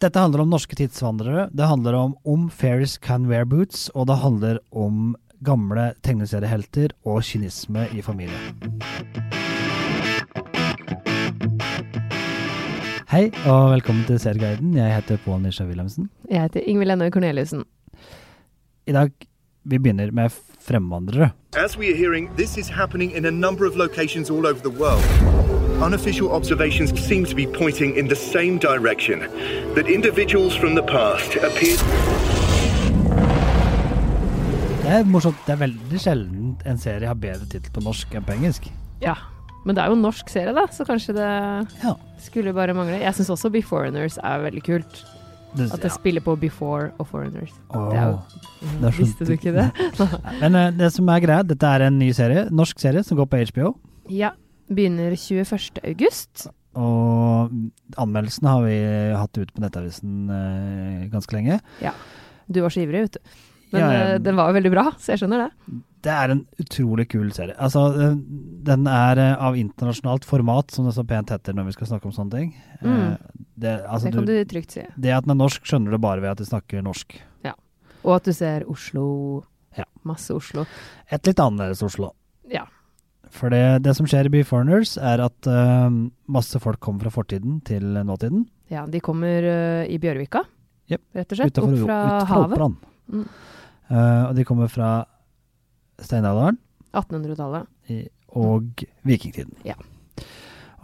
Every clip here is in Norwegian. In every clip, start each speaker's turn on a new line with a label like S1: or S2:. S1: Dette handler om norske tidsvandrere, det handler om om Ferris can wear boots, og det handler om gamle tegneseriehelter og kynisme i familien. Hei, og velkommen til Serieguiden. Jeg heter Pål Nisja Wilhelmsen.
S2: Jeg heter Ingvild Ennøy Corneliussen.
S1: I dag vi begynner med fremvandrere.
S3: As we are hearing, this is happening in a number of locations all over the world. Unofficial observations seem to be pointing in the same direction that individuals from the past appear.
S1: Det er morsomt. Det er veldig sjelden en serie har bedre tittel på norsk enn på engelsk.
S2: Ja. Men det er jo en norsk serie, da, så kanskje det
S1: Ja.
S2: skulle bare mangle. Jeg syns også Beforeigners er veldig kult.
S1: Det,
S2: At det spiller på Before og Foreigners.
S1: Åh,
S2: det er jo-
S1: det er så-
S2: Visste du ikke det?
S1: Men eh, det som er greia, dette er en ny serie, norsk serie, som går på HBO.
S2: Ja. Begynner 21. august.
S1: Og anmeldelsene har vi hatt ute på Nettavisen eh, ganske lenge.
S2: Du var så ivrig, vet du. Men
S1: Ja, ja.
S2: eh, den var jo veldig bra, så jeg skjønner det.
S1: Det er en utrolig kul serie. Altså, eh, den er eh, av internasjonalt format, som det så pent heter når vi skal snakke om sånne ting. Eh,
S2: Mm.
S1: Det, altså,
S2: det kan
S1: du,
S2: du trygt si.
S1: det at den er norsk, skjønner du bare ved at de snakker norsk.
S2: Og at du ser Oslo.
S1: Ja.
S2: Masse Oslo.
S1: Et litt annerledes Oslo.
S2: Ja.
S1: For det, det som skjer i Beforeigners, er at eh, masse folk kommer fra fortiden til nåtiden.
S2: Ja, de kommer eh, i Bjørvika,
S1: Jep.
S2: rett og slett.
S1: Utenfor,
S2: Opp fra havet.
S1: Oppland.
S2: Mm.
S1: Eh, og de kommer fra steinalderen
S2: 1800-tallet.
S1: i- og vikingtiden.
S2: Mm. Ja.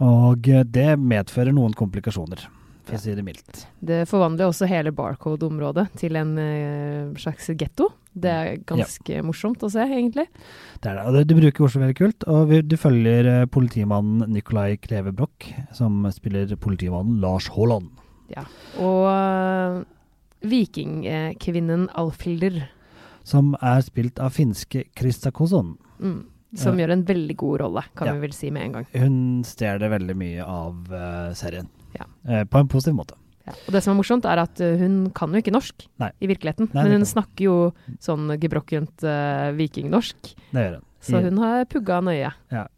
S1: Og eh, det medfører noen komplikasjoner, for
S2: Ja.
S1: å si det mildt.
S2: Det forvandler også hele Barcode-området til en eh, slags getto. Det er ganske morsomt å se, egentlig.
S1: Det er det. Og det, du bruker Oslo veldig kult, og vi, du følger eh, politimannen Nikolai Kleve Broch, som spiller politimannen Lars Haaland.
S2: Og eh, vikingkvinnen Alfhilder,
S1: Som er spilt av finske Krista Kosson.
S2: mm, som
S1: Ja.
S2: gjør en veldig god rolle, kan
S1: Ja.
S2: vi vel si med en gang.
S1: Hun stjeler veldig mye av eh, serien.
S2: Ja.
S1: Eh, på en positiv måte.
S2: Ja. Og det som er morsomt, er at eh, hun kan jo ikke norsk
S1: Nei.
S2: i virkeligheten,
S1: Nei, det
S2: men
S1: kan
S2: hun snakker jo sånn gebrokkent eh, vikingnorsk,
S1: Det gjør hun.
S2: så
S1: I-
S2: hun har pugga nøye.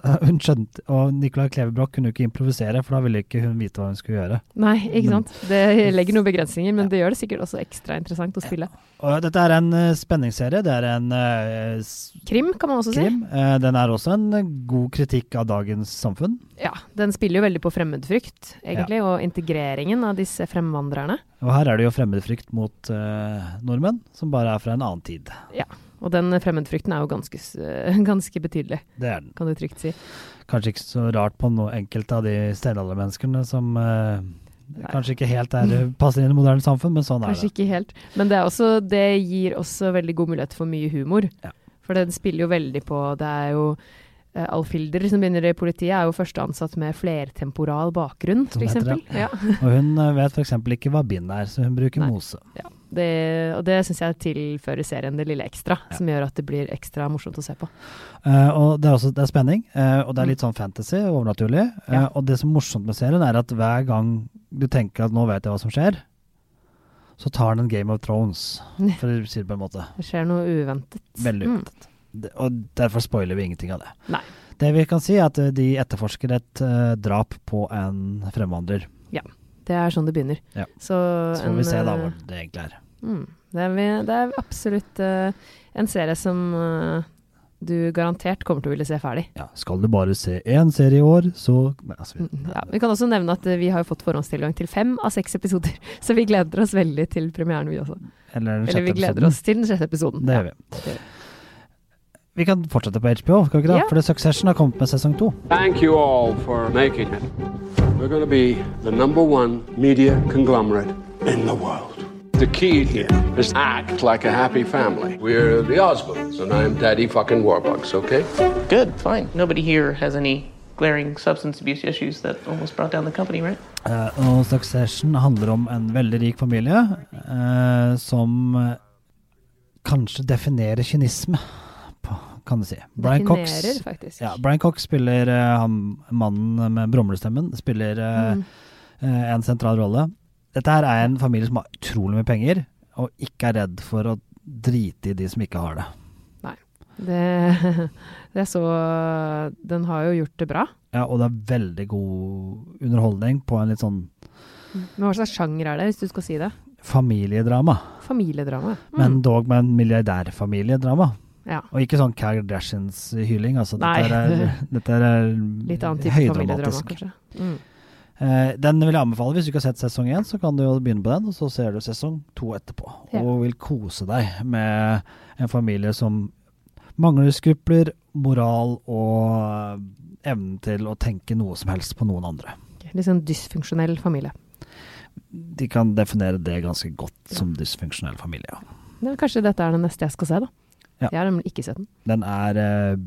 S1: Hun skjønte, og Nicolai Klevebrok kunne jo ikke improvisere, for da ville ikke hun vite hva hun skulle gjøre.
S2: Nei, ikke
S1: Men-
S2: sant. Det legger noen begrensninger, men det gjør det sikkert også ekstra interessant å spille.
S1: Og dette er en eh, spenningsserie, det er en eh, s-
S2: Krim kan man også si.
S1: krim. Eh, den er også en eh, god kritikk av dagens samfunn.
S2: Ja, den spiller jo veldig på fremmedfrykt, egentlig, og integreringen av disse fremvandrerne.
S1: Og her er det jo fremmedfrykt mot eh, nordmenn, som bare er fra en annen tid.
S2: Og den fremmedfrykten er jo ganske, s- ganske betydelig,
S1: Det er den.
S2: kan du trygt si.
S1: Kanskje ikke så rart på noe enkelte av de steinaldermenneskene som eh, kanskje ikke helt er, eh, passer inn i moderne samfunn, men sånn
S2: Kanskje
S1: er det.
S2: ikke helt. Men det, er også, det gir også veldig god mulighet for mye humor.
S1: Ja.
S2: For den spiller jo veldig på Det er jo eh, Alfhilder, som begynner i politiet, er jo førsteansatt med flertemporal bakgrunn,
S1: Som
S2: f.eks.
S1: heter det.
S2: Ja.
S1: Og hun eh, vet f.eks. ikke hva bind er, så hun bruker
S2: Nei.
S1: mose.
S2: Det, og det syns jeg tilfører serien det lille ekstra, som gjør at det blir ekstra morsomt å se på.
S1: Eh, og det er også det er spenning, eh, og det er litt sånn fantasy, overnaturlig. Eh,
S2: Mm. Ja.
S1: og det som er morsomt med serien, er at hver gang du tenker at nå vet jeg hva som skjer, så tar den en Game of Thrones, for å si det på en måte.
S2: Det skjer noe uventet.
S1: Veldig
S2: Mm.
S1: uventet. Det- Og derfor spoiler vi ingenting av det.
S2: Nei.
S1: Det vi kan si, er at eh, de etterforsker et eh, drap på en fremvandrer.
S2: Det er sånn det begynner.
S1: Ja.
S2: Så,
S1: Så får
S2: en,
S1: vi se da
S2: eh,
S1: hvor det egentlig er.
S2: Mm, det, er, vi- det er absolutt eh, en serie som eh, du garantert kommer til å ville se ferdig.
S1: Ja, skal du bare se én serie i år, så Nei, altså, vi-
S2: Mm, Ja, vi kan også nevne at eh, vi har jo fått forhåndstilgang til fem av seks episoder, så vi gleder oss veldig til premieren vi også.
S1: Eller den
S2: Eller
S1: sjette
S2: vi gleder
S1: episoden.
S2: oss til den sjette episoden.
S1: Det
S2: Ja.
S1: gjør vi.
S2: det gjør
S1: Vi kan fortsette på HBO, skal vi ikke det?
S2: Ja.
S1: For det Succession har kommet med sesong to.
S4: Thank you all for making it. We're going to be the number one media conglomerate in the world. The key here is act like a happy family. We're the Osmonds, and I'm Daddy fucking Warbucks, okay?
S5: Good, fine. Nobody here has any glaring substance abuse issues that almost brought down the company, right?
S1: Eh, og Succession handler om en veldig rik familie eh, som eh, kanskje definerer kynisme, på, kan du si. Brian Cox,
S2: Definerer, faktisk.
S1: ja, Brian Cox spiller eh, han, mannen med brumlestemmen, spiller eh,
S2: Mm.
S1: eh, en sentral rolle. Dette her er en familie som har utrolig mye penger, og ikke er redd for å drite i de som ikke har det.
S2: Det, det er så Den har jo gjort det bra.
S1: Ja, og det er veldig god underholdning på en litt sånn
S2: Men hva slags sjanger er det, hvis du skal si det?
S1: Familiedrama.
S2: Familiedrama. Mm.
S1: Men dog med en milliardærfamiliedrama.
S2: Ja.
S1: Og ikke sånn Kardashians hyling, altså.
S2: Nei.
S1: Dette er, dette er
S2: Litt annen type familiedrama,
S1: høydramatisk.
S2: kanskje. Mm.
S1: Eh, den vil jeg anbefale. Hvis du ikke har sett sesong én, så kan du jo begynne på den, og så ser du sesong to etterpå.
S2: Ja.
S1: Og vil kose deg med en familie som mangler skrupler, moral og eh, evnen til å tenke noe som helst på noen andre.
S2: Litt sånn dysfunksjonell familie.
S1: De kan definere det ganske godt som dysfunksjonell familie. ja.
S2: Ja, kanskje dette er den neste jeg skal se, da.
S1: Ja.
S2: Jeg har nemlig ikke sett den.
S1: Den er eh,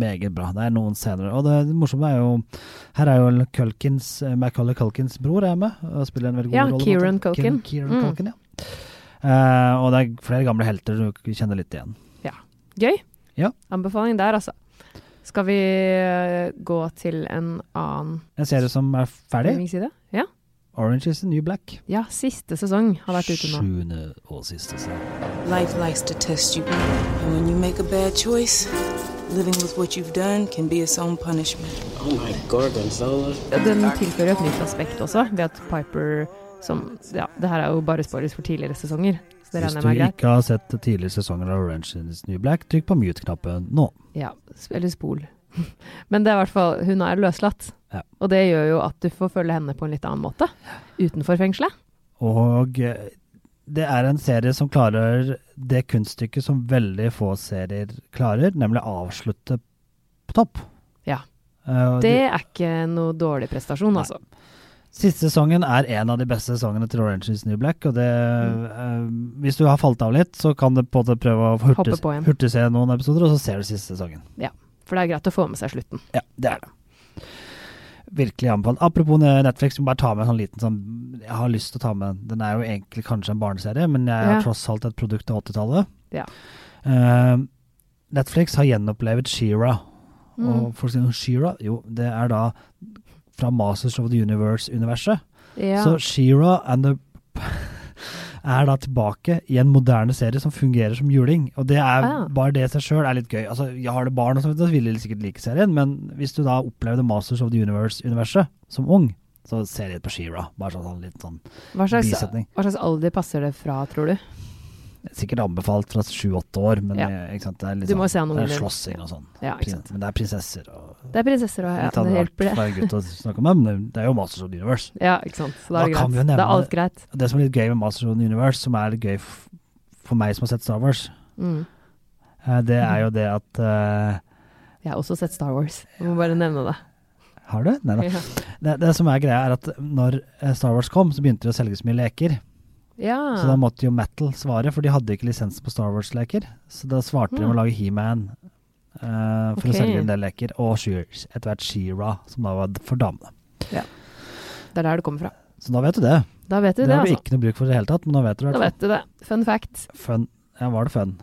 S1: meget bra. Det er noen scener Og det, det morsomme er jo Her er jo Culkins, eh, Macaulay Culkins bror er med og spiller en veldig god
S2: Ja,
S1: rolle.
S2: Kieran
S1: Ki-
S2: Culkin.
S1: Kieran
S2: Mm.
S1: Culkin, ja. Eh, og det er flere gamle helter du kjenner litt igjen.
S2: Gøy.
S1: Ja.
S2: Anbefaling der, altså. Skal vi eh, gå til en annen
S1: En serie som er ferdig.
S2: filmingside? Ja.
S1: Orange is the New Black.
S2: ja, siste sesong har vært ute nå.
S1: Sjuende og siste serie.
S6: Life likes to test you. And when you make a bad choice, living with what you've done can be its own punishment.
S7: Oh my gorgonzola.
S2: Ja, Den tilfører jo et nytt aspekt også, ved at Piper som Ja, det her er jo bare spoilers for tidligere sesonger, så det
S1: Hvis
S2: regner
S1: du
S2: jeg med er greit.
S1: ikke har sett tidligere sesonger av Orange is the New Black, trykk på mute-knappen nå.
S2: Ja, sp- eller spol. Men det er i hvert fall Hun er løslatt.
S1: Ja.
S2: Og det gjør jo at du får følge henne på en litt annen måte. Utenfor fengselet.
S1: Og eh, det er en serie som klarer det kunststykket som veldig få serier klarer, nemlig avslutte på topp.
S2: Ja.
S1: Eh, og
S2: Det er ikke noe dårlig prestasjon,
S1: Nei.
S2: altså.
S1: Siste sesongen er en av de beste sesongene til Orange is the New Black. Og det,
S2: Mm.
S1: eh, hvis du har falt av litt, så kan du på en måte prøve å hurtig,
S2: Hoppe på igjen.
S1: hurtig se noen episoder, og så ser du siste sesongen.
S2: For det er greit å få med seg slutten.
S1: Ja, det er det. Virkelig anbefalt. Apropos Netflix, jeg må bare ta med en sånn liten sånn Jeg har lyst til å ta med den. Den er jo egentlig kanskje en barneserie, men jeg
S2: Ja.
S1: er tross alt et produkt av 80-tallet.
S2: Ja.
S1: Eh, Netflix har gjenopplevd She-Ra. Og
S2: Mm.
S1: folk sier She-Ra? Jo, det er da fra Masters of the Universe-universet.
S2: Ja.
S1: Så She-Ra and the er da tilbake i en moderne serie som fungerer som juling. Og det er
S2: Ah.
S1: bare det i seg sjøl er litt gøy. Altså, jeg har det barn, og så videre, så vil de sikkert like serien, men hvis du da opplevde Masters of the Universe-universet som ung, så ser jeg litt på She-Ra. Bare sånn, sånn litt sånn
S2: hva, slags,
S1: bisetning.
S2: hva slags alder passer det fra, tror du?
S1: Sikkert anbefalt fra sju-åtte år, men
S2: Ja.
S1: eh, ikke sant? det er litt
S2: Du må
S1: sånn
S2: se
S1: det
S2: noen
S1: er
S2: under-
S1: slåssing og sånn.
S2: Ja, ikke
S1: Prin-
S2: sant.
S1: Men det er prinsesser og
S2: Det er prinsesser og ja,
S1: litt av
S2: det
S1: hvert
S2: hjelper det.
S1: for en gutt å snakke om, men det- det er jo Masters of the Universe.
S2: Ja, ikke sant. Så da er det
S1: Da kan vi
S2: greit.
S1: jo nevne-
S2: Da er alt greit.
S1: Det som er litt gøy med Masters of the Universe, som er litt gøy f for meg som har sett Star Wars,
S2: Mm.
S1: eh, det er jo det at eh,
S2: Jeg har også sett Star Wars. Jeg må bare nevne det.
S1: Har du? Nei, nei.
S2: Ja,
S1: Det, det som er greia, er at når eh, Star Wars kom, så begynte de å selge så mye leker. Så da måtte jo Metal svare, for de hadde ikke lisens på Star Wars-leker. Så da svarte de med å lage He-Man eh, for
S2: Mm. Ok.
S1: å selge en del leker. Og She- etter hvert She-Ra, som da var for damene.
S2: det er der det kommer fra.
S1: Så da vet du det.
S2: Da vet du
S1: Det
S2: det,
S1: har vi
S2: altså.
S1: ikke noe bruk for i det hele tatt, men nå vet du i hvert
S2: Da
S1: fall.
S2: vet du det. Fun fact.
S1: Fun. Ja, var det fun?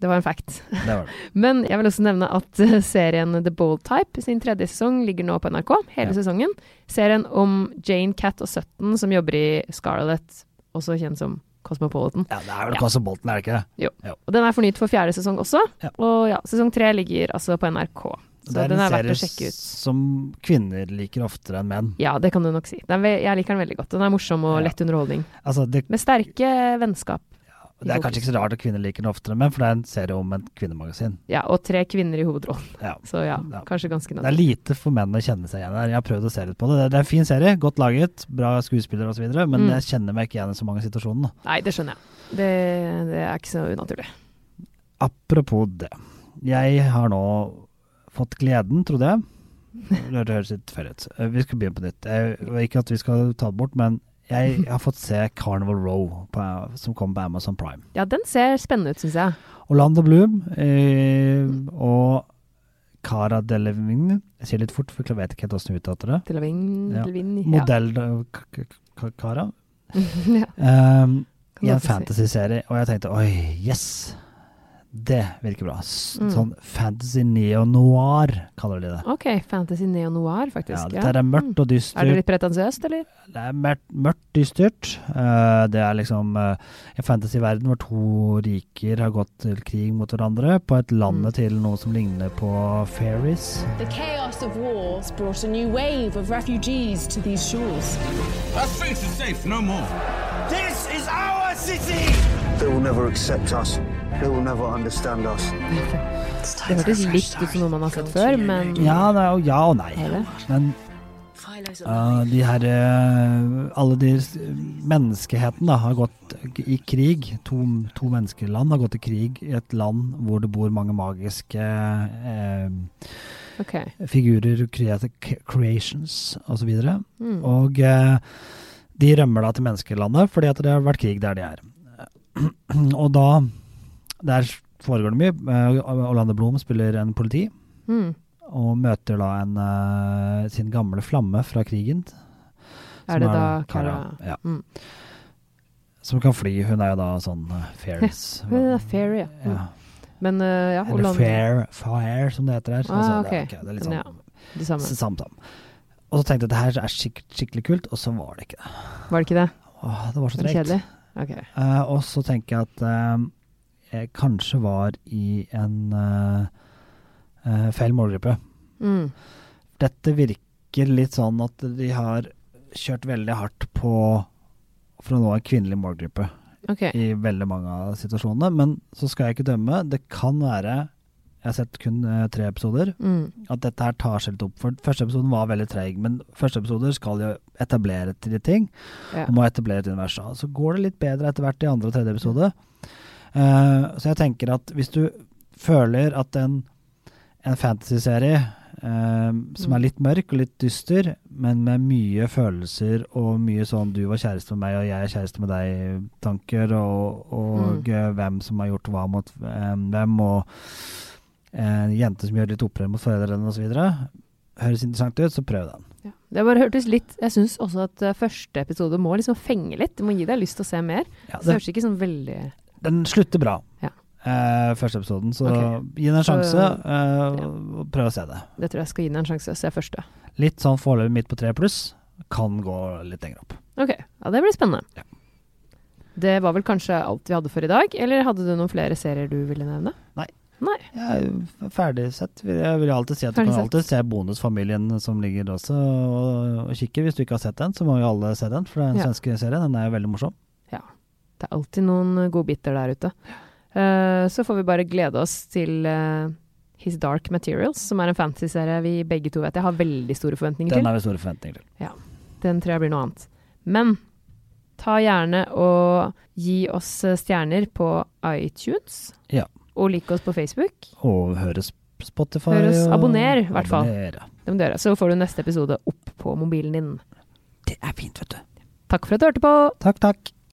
S2: Det var en fact.
S1: Det var det.
S2: Men jeg vil også nevne at eh, serien The Bold Type sin tredje sesong ligger nå på NRK, hele
S1: Ja.
S2: sesongen. Serien om Jane, Cat og Sutton som jobber i Scarlett, også kjent som Cosmopolitan.
S1: Ja, det er vel
S2: Ja.
S1: Castle Bolton, er det ikke det?
S2: Og den er fornyet for fjerde sesong også,
S1: Ja.
S2: og ja, sesong tre ligger altså på NRK. Så den er verdt å sjekke ut.
S1: som kvinner liker oftere enn menn.
S2: Ja, det kan du nok si. Den, er ve- jeg liker den veldig godt. Den er morsom og
S1: Ja.
S2: lett underholdning.
S1: Altså, det,
S2: Med sterke vennskap.
S1: det er kanskje ikke så rart at kvinner liker den oftere enn menn, for det er en serie om et kvinnemagasin.
S2: Ja, og tre kvinner i hovedrollen.
S1: Ja.
S2: Så ja,
S1: Ja.
S2: kanskje ganske
S1: Det er
S2: naturlig.
S1: lite for menn å kjenne seg igjen her. Jeg har prøvd å se litt på det. Det- Det er en fin serie, godt laget, bra skuespiller osv., men
S2: Mm.
S1: jeg kjenner meg ikke igjen i så mange situasjoner.
S2: Nei, det skjønner jeg. Det, det er ikke så unaturlig.
S1: Apropos det. Jeg har nå fått gleden, trodde jeg. Det høres litt feil ut. Eh, Vi skal begynne på nytt. Jeg, ikke at vi skal ta det bort, men jeg har fått se Carnival Row på, som kom på Amazon Prime.
S2: Ja, den ser spennende ut, syns jeg.
S1: Orlando Bloom eh, og Cara Delevingne Jeg sier litt fort, for jeg vet ikke helt hvordan jeg uttaler det.
S2: Til å vinne,
S1: Ja.
S2: til å vinne. Ja.
S1: Modell eh, k- k- k- Cara.
S2: ja,
S1: Um, I
S2: kan man
S1: en
S2: godt si.
S1: fantasyserie, og jeg tenkte oi, yes! Det virker bra. S
S2: Mm.
S1: Sånn fantasy neo-noir, kaller de det.
S2: Ok, fantasy neo-noir,
S1: Ja,
S2: faktisk. Ja, Mm.
S1: dette er mørkt og
S2: Er det
S1: dystert.
S2: litt pretensiøst, eller?
S1: Det er mørkt, mørkt dystert. Eh, det er liksom eh, en fantasyverden hvor to riker har gått til krig mot hverandre på et landet til noe som ligner på fairies.
S8: The chaos of war has brought a new wave of refugees to these shores.
S9: Our streets are safe no more. This is our city!
S10: They will never accept us. They will never understand us.
S2: Det hørtes litt ut som noe man har sett før, men
S1: Ja, det er jo ja og nei.
S2: det?
S1: Men eh, de her eh, Alle de s- Menneskeheten da, har gått i krig. To, to menneskeland har gått i krig i et land hvor det bor mange magiske eh,
S2: ok.
S1: figurer, creat- c- creations osv. Og, så videre.
S2: Hmm,
S1: og eh, de rømmer da til menneskelandet fordi at det har vært krig der de er. og da Der foregår det mye. Eh, Orlando Bloom spiller en politi
S2: Mm.
S1: og møter da en, eh, sin gamle flamme fra krigen. som
S2: Er det da Cara?
S1: Kara? Ja.
S2: Mm.
S1: Som kan fly. Hun er jo da sånn eh, fairies.
S2: Men det er fair, ja. Mm.
S1: Ja.
S2: Men eh, ja,
S1: Eller
S2: Orlando-
S1: fair, fair, som det heter her. det,
S2: Ah,
S1: er,
S2: ok.
S1: ok, det er litt sånn
S2: Ja. Det samme.
S1: Samt ham. Og så tenkte jeg at det her er skik skikkelig kult, og så var det ikke det.
S2: Var det ikke det?
S1: Åh, det var så
S2: Var det
S1: tregt.
S2: kjedelig? Ok.
S1: Eh, og så tenker jeg at eh, jeg kanskje var i en eh, eh, feil målgruppe.
S2: Mm.
S1: Dette virker litt sånn at de har kjørt veldig hardt på for å nå en kvinnelig målgruppe
S2: Ok.
S1: i veldig mange av situasjonene. Men så skal jeg ikke dømme. Det kan være Jeg har sett kun eh, tre episoder.
S2: Mm.
S1: at dette her tar seg litt opp. For første episoden var veldig treig, men første episoder skal jo etablere til de ting.
S2: Ja.
S1: Og må etablere et univers. Og Så går det litt bedre etter hvert i andre og tredje episode. Eh, så jeg tenker at hvis du føler at en, en fantasyserie eh, som er litt mørk og litt dyster, men med mye følelser og mye sånn 'du var kjæreste med meg, og jeg er kjæreste med deg'-tanker, og, og eh, hvem som har gjort hva mot eh, hvem, og eh, jenter som gjør litt opprør mot foreldrene osv. Høres interessant ut, så prøv den.
S2: Ja. Det bare hørtes litt Jeg syns også at eh, første episode må liksom fenge litt. Det må gi deg lyst til å se mer.
S1: Ja,
S2: Så det
S1: den,
S2: høres ikke sånn veldig
S1: den slutter bra,
S2: Ja.
S1: eh, første episoden, så
S2: Ok.
S1: gi den en
S2: Så-
S1: sjanse, eh, og prøv å se det.
S2: Det tror jeg skal gi den en sjanse. å Se første.
S1: Litt sånn foreløpig midt på tre pluss. Kan gå litt lenger opp.
S2: Ok. Ja, det blir spennende.
S1: Ja.
S2: Det var vel kanskje alt vi hadde for i dag, eller hadde du noen flere serier du ville nevne?
S1: Jeg er ferdig sett. vil- Jeg vil alltid si at du kan
S2: Ferdig sett.
S1: alltid se Bonusfamilien som ligger også og, og kikke. Hvis du ikke har sett den, så må jo alle se den, for det er en
S2: Ja.
S1: svensk serie. Den er jo veldig morsom.
S2: Det er alltid noen eh, godbiter der ute. Eh, så får vi bare glede oss til eh, His Dark Materials, som er en fantasy-serie vi begge to vet jeg har veldig store forventninger
S1: Den
S2: til.
S1: har vi store forventninger til.
S2: Den tror jeg blir noe annet. Men ta gjerne og gi oss eh, stjerner på iTunes.
S1: Ja.
S2: Og lik oss på Facebook.
S1: Og høres Spotify
S2: Hør oss.
S1: og-
S2: Abonner, i hvert fall.
S1: Abonner, ja.
S2: Det må du gjøre. Så får du neste episode opp på mobilen din.
S1: Det er fint, vet du.
S2: Takk for at du hørte på!
S1: Takk, takk.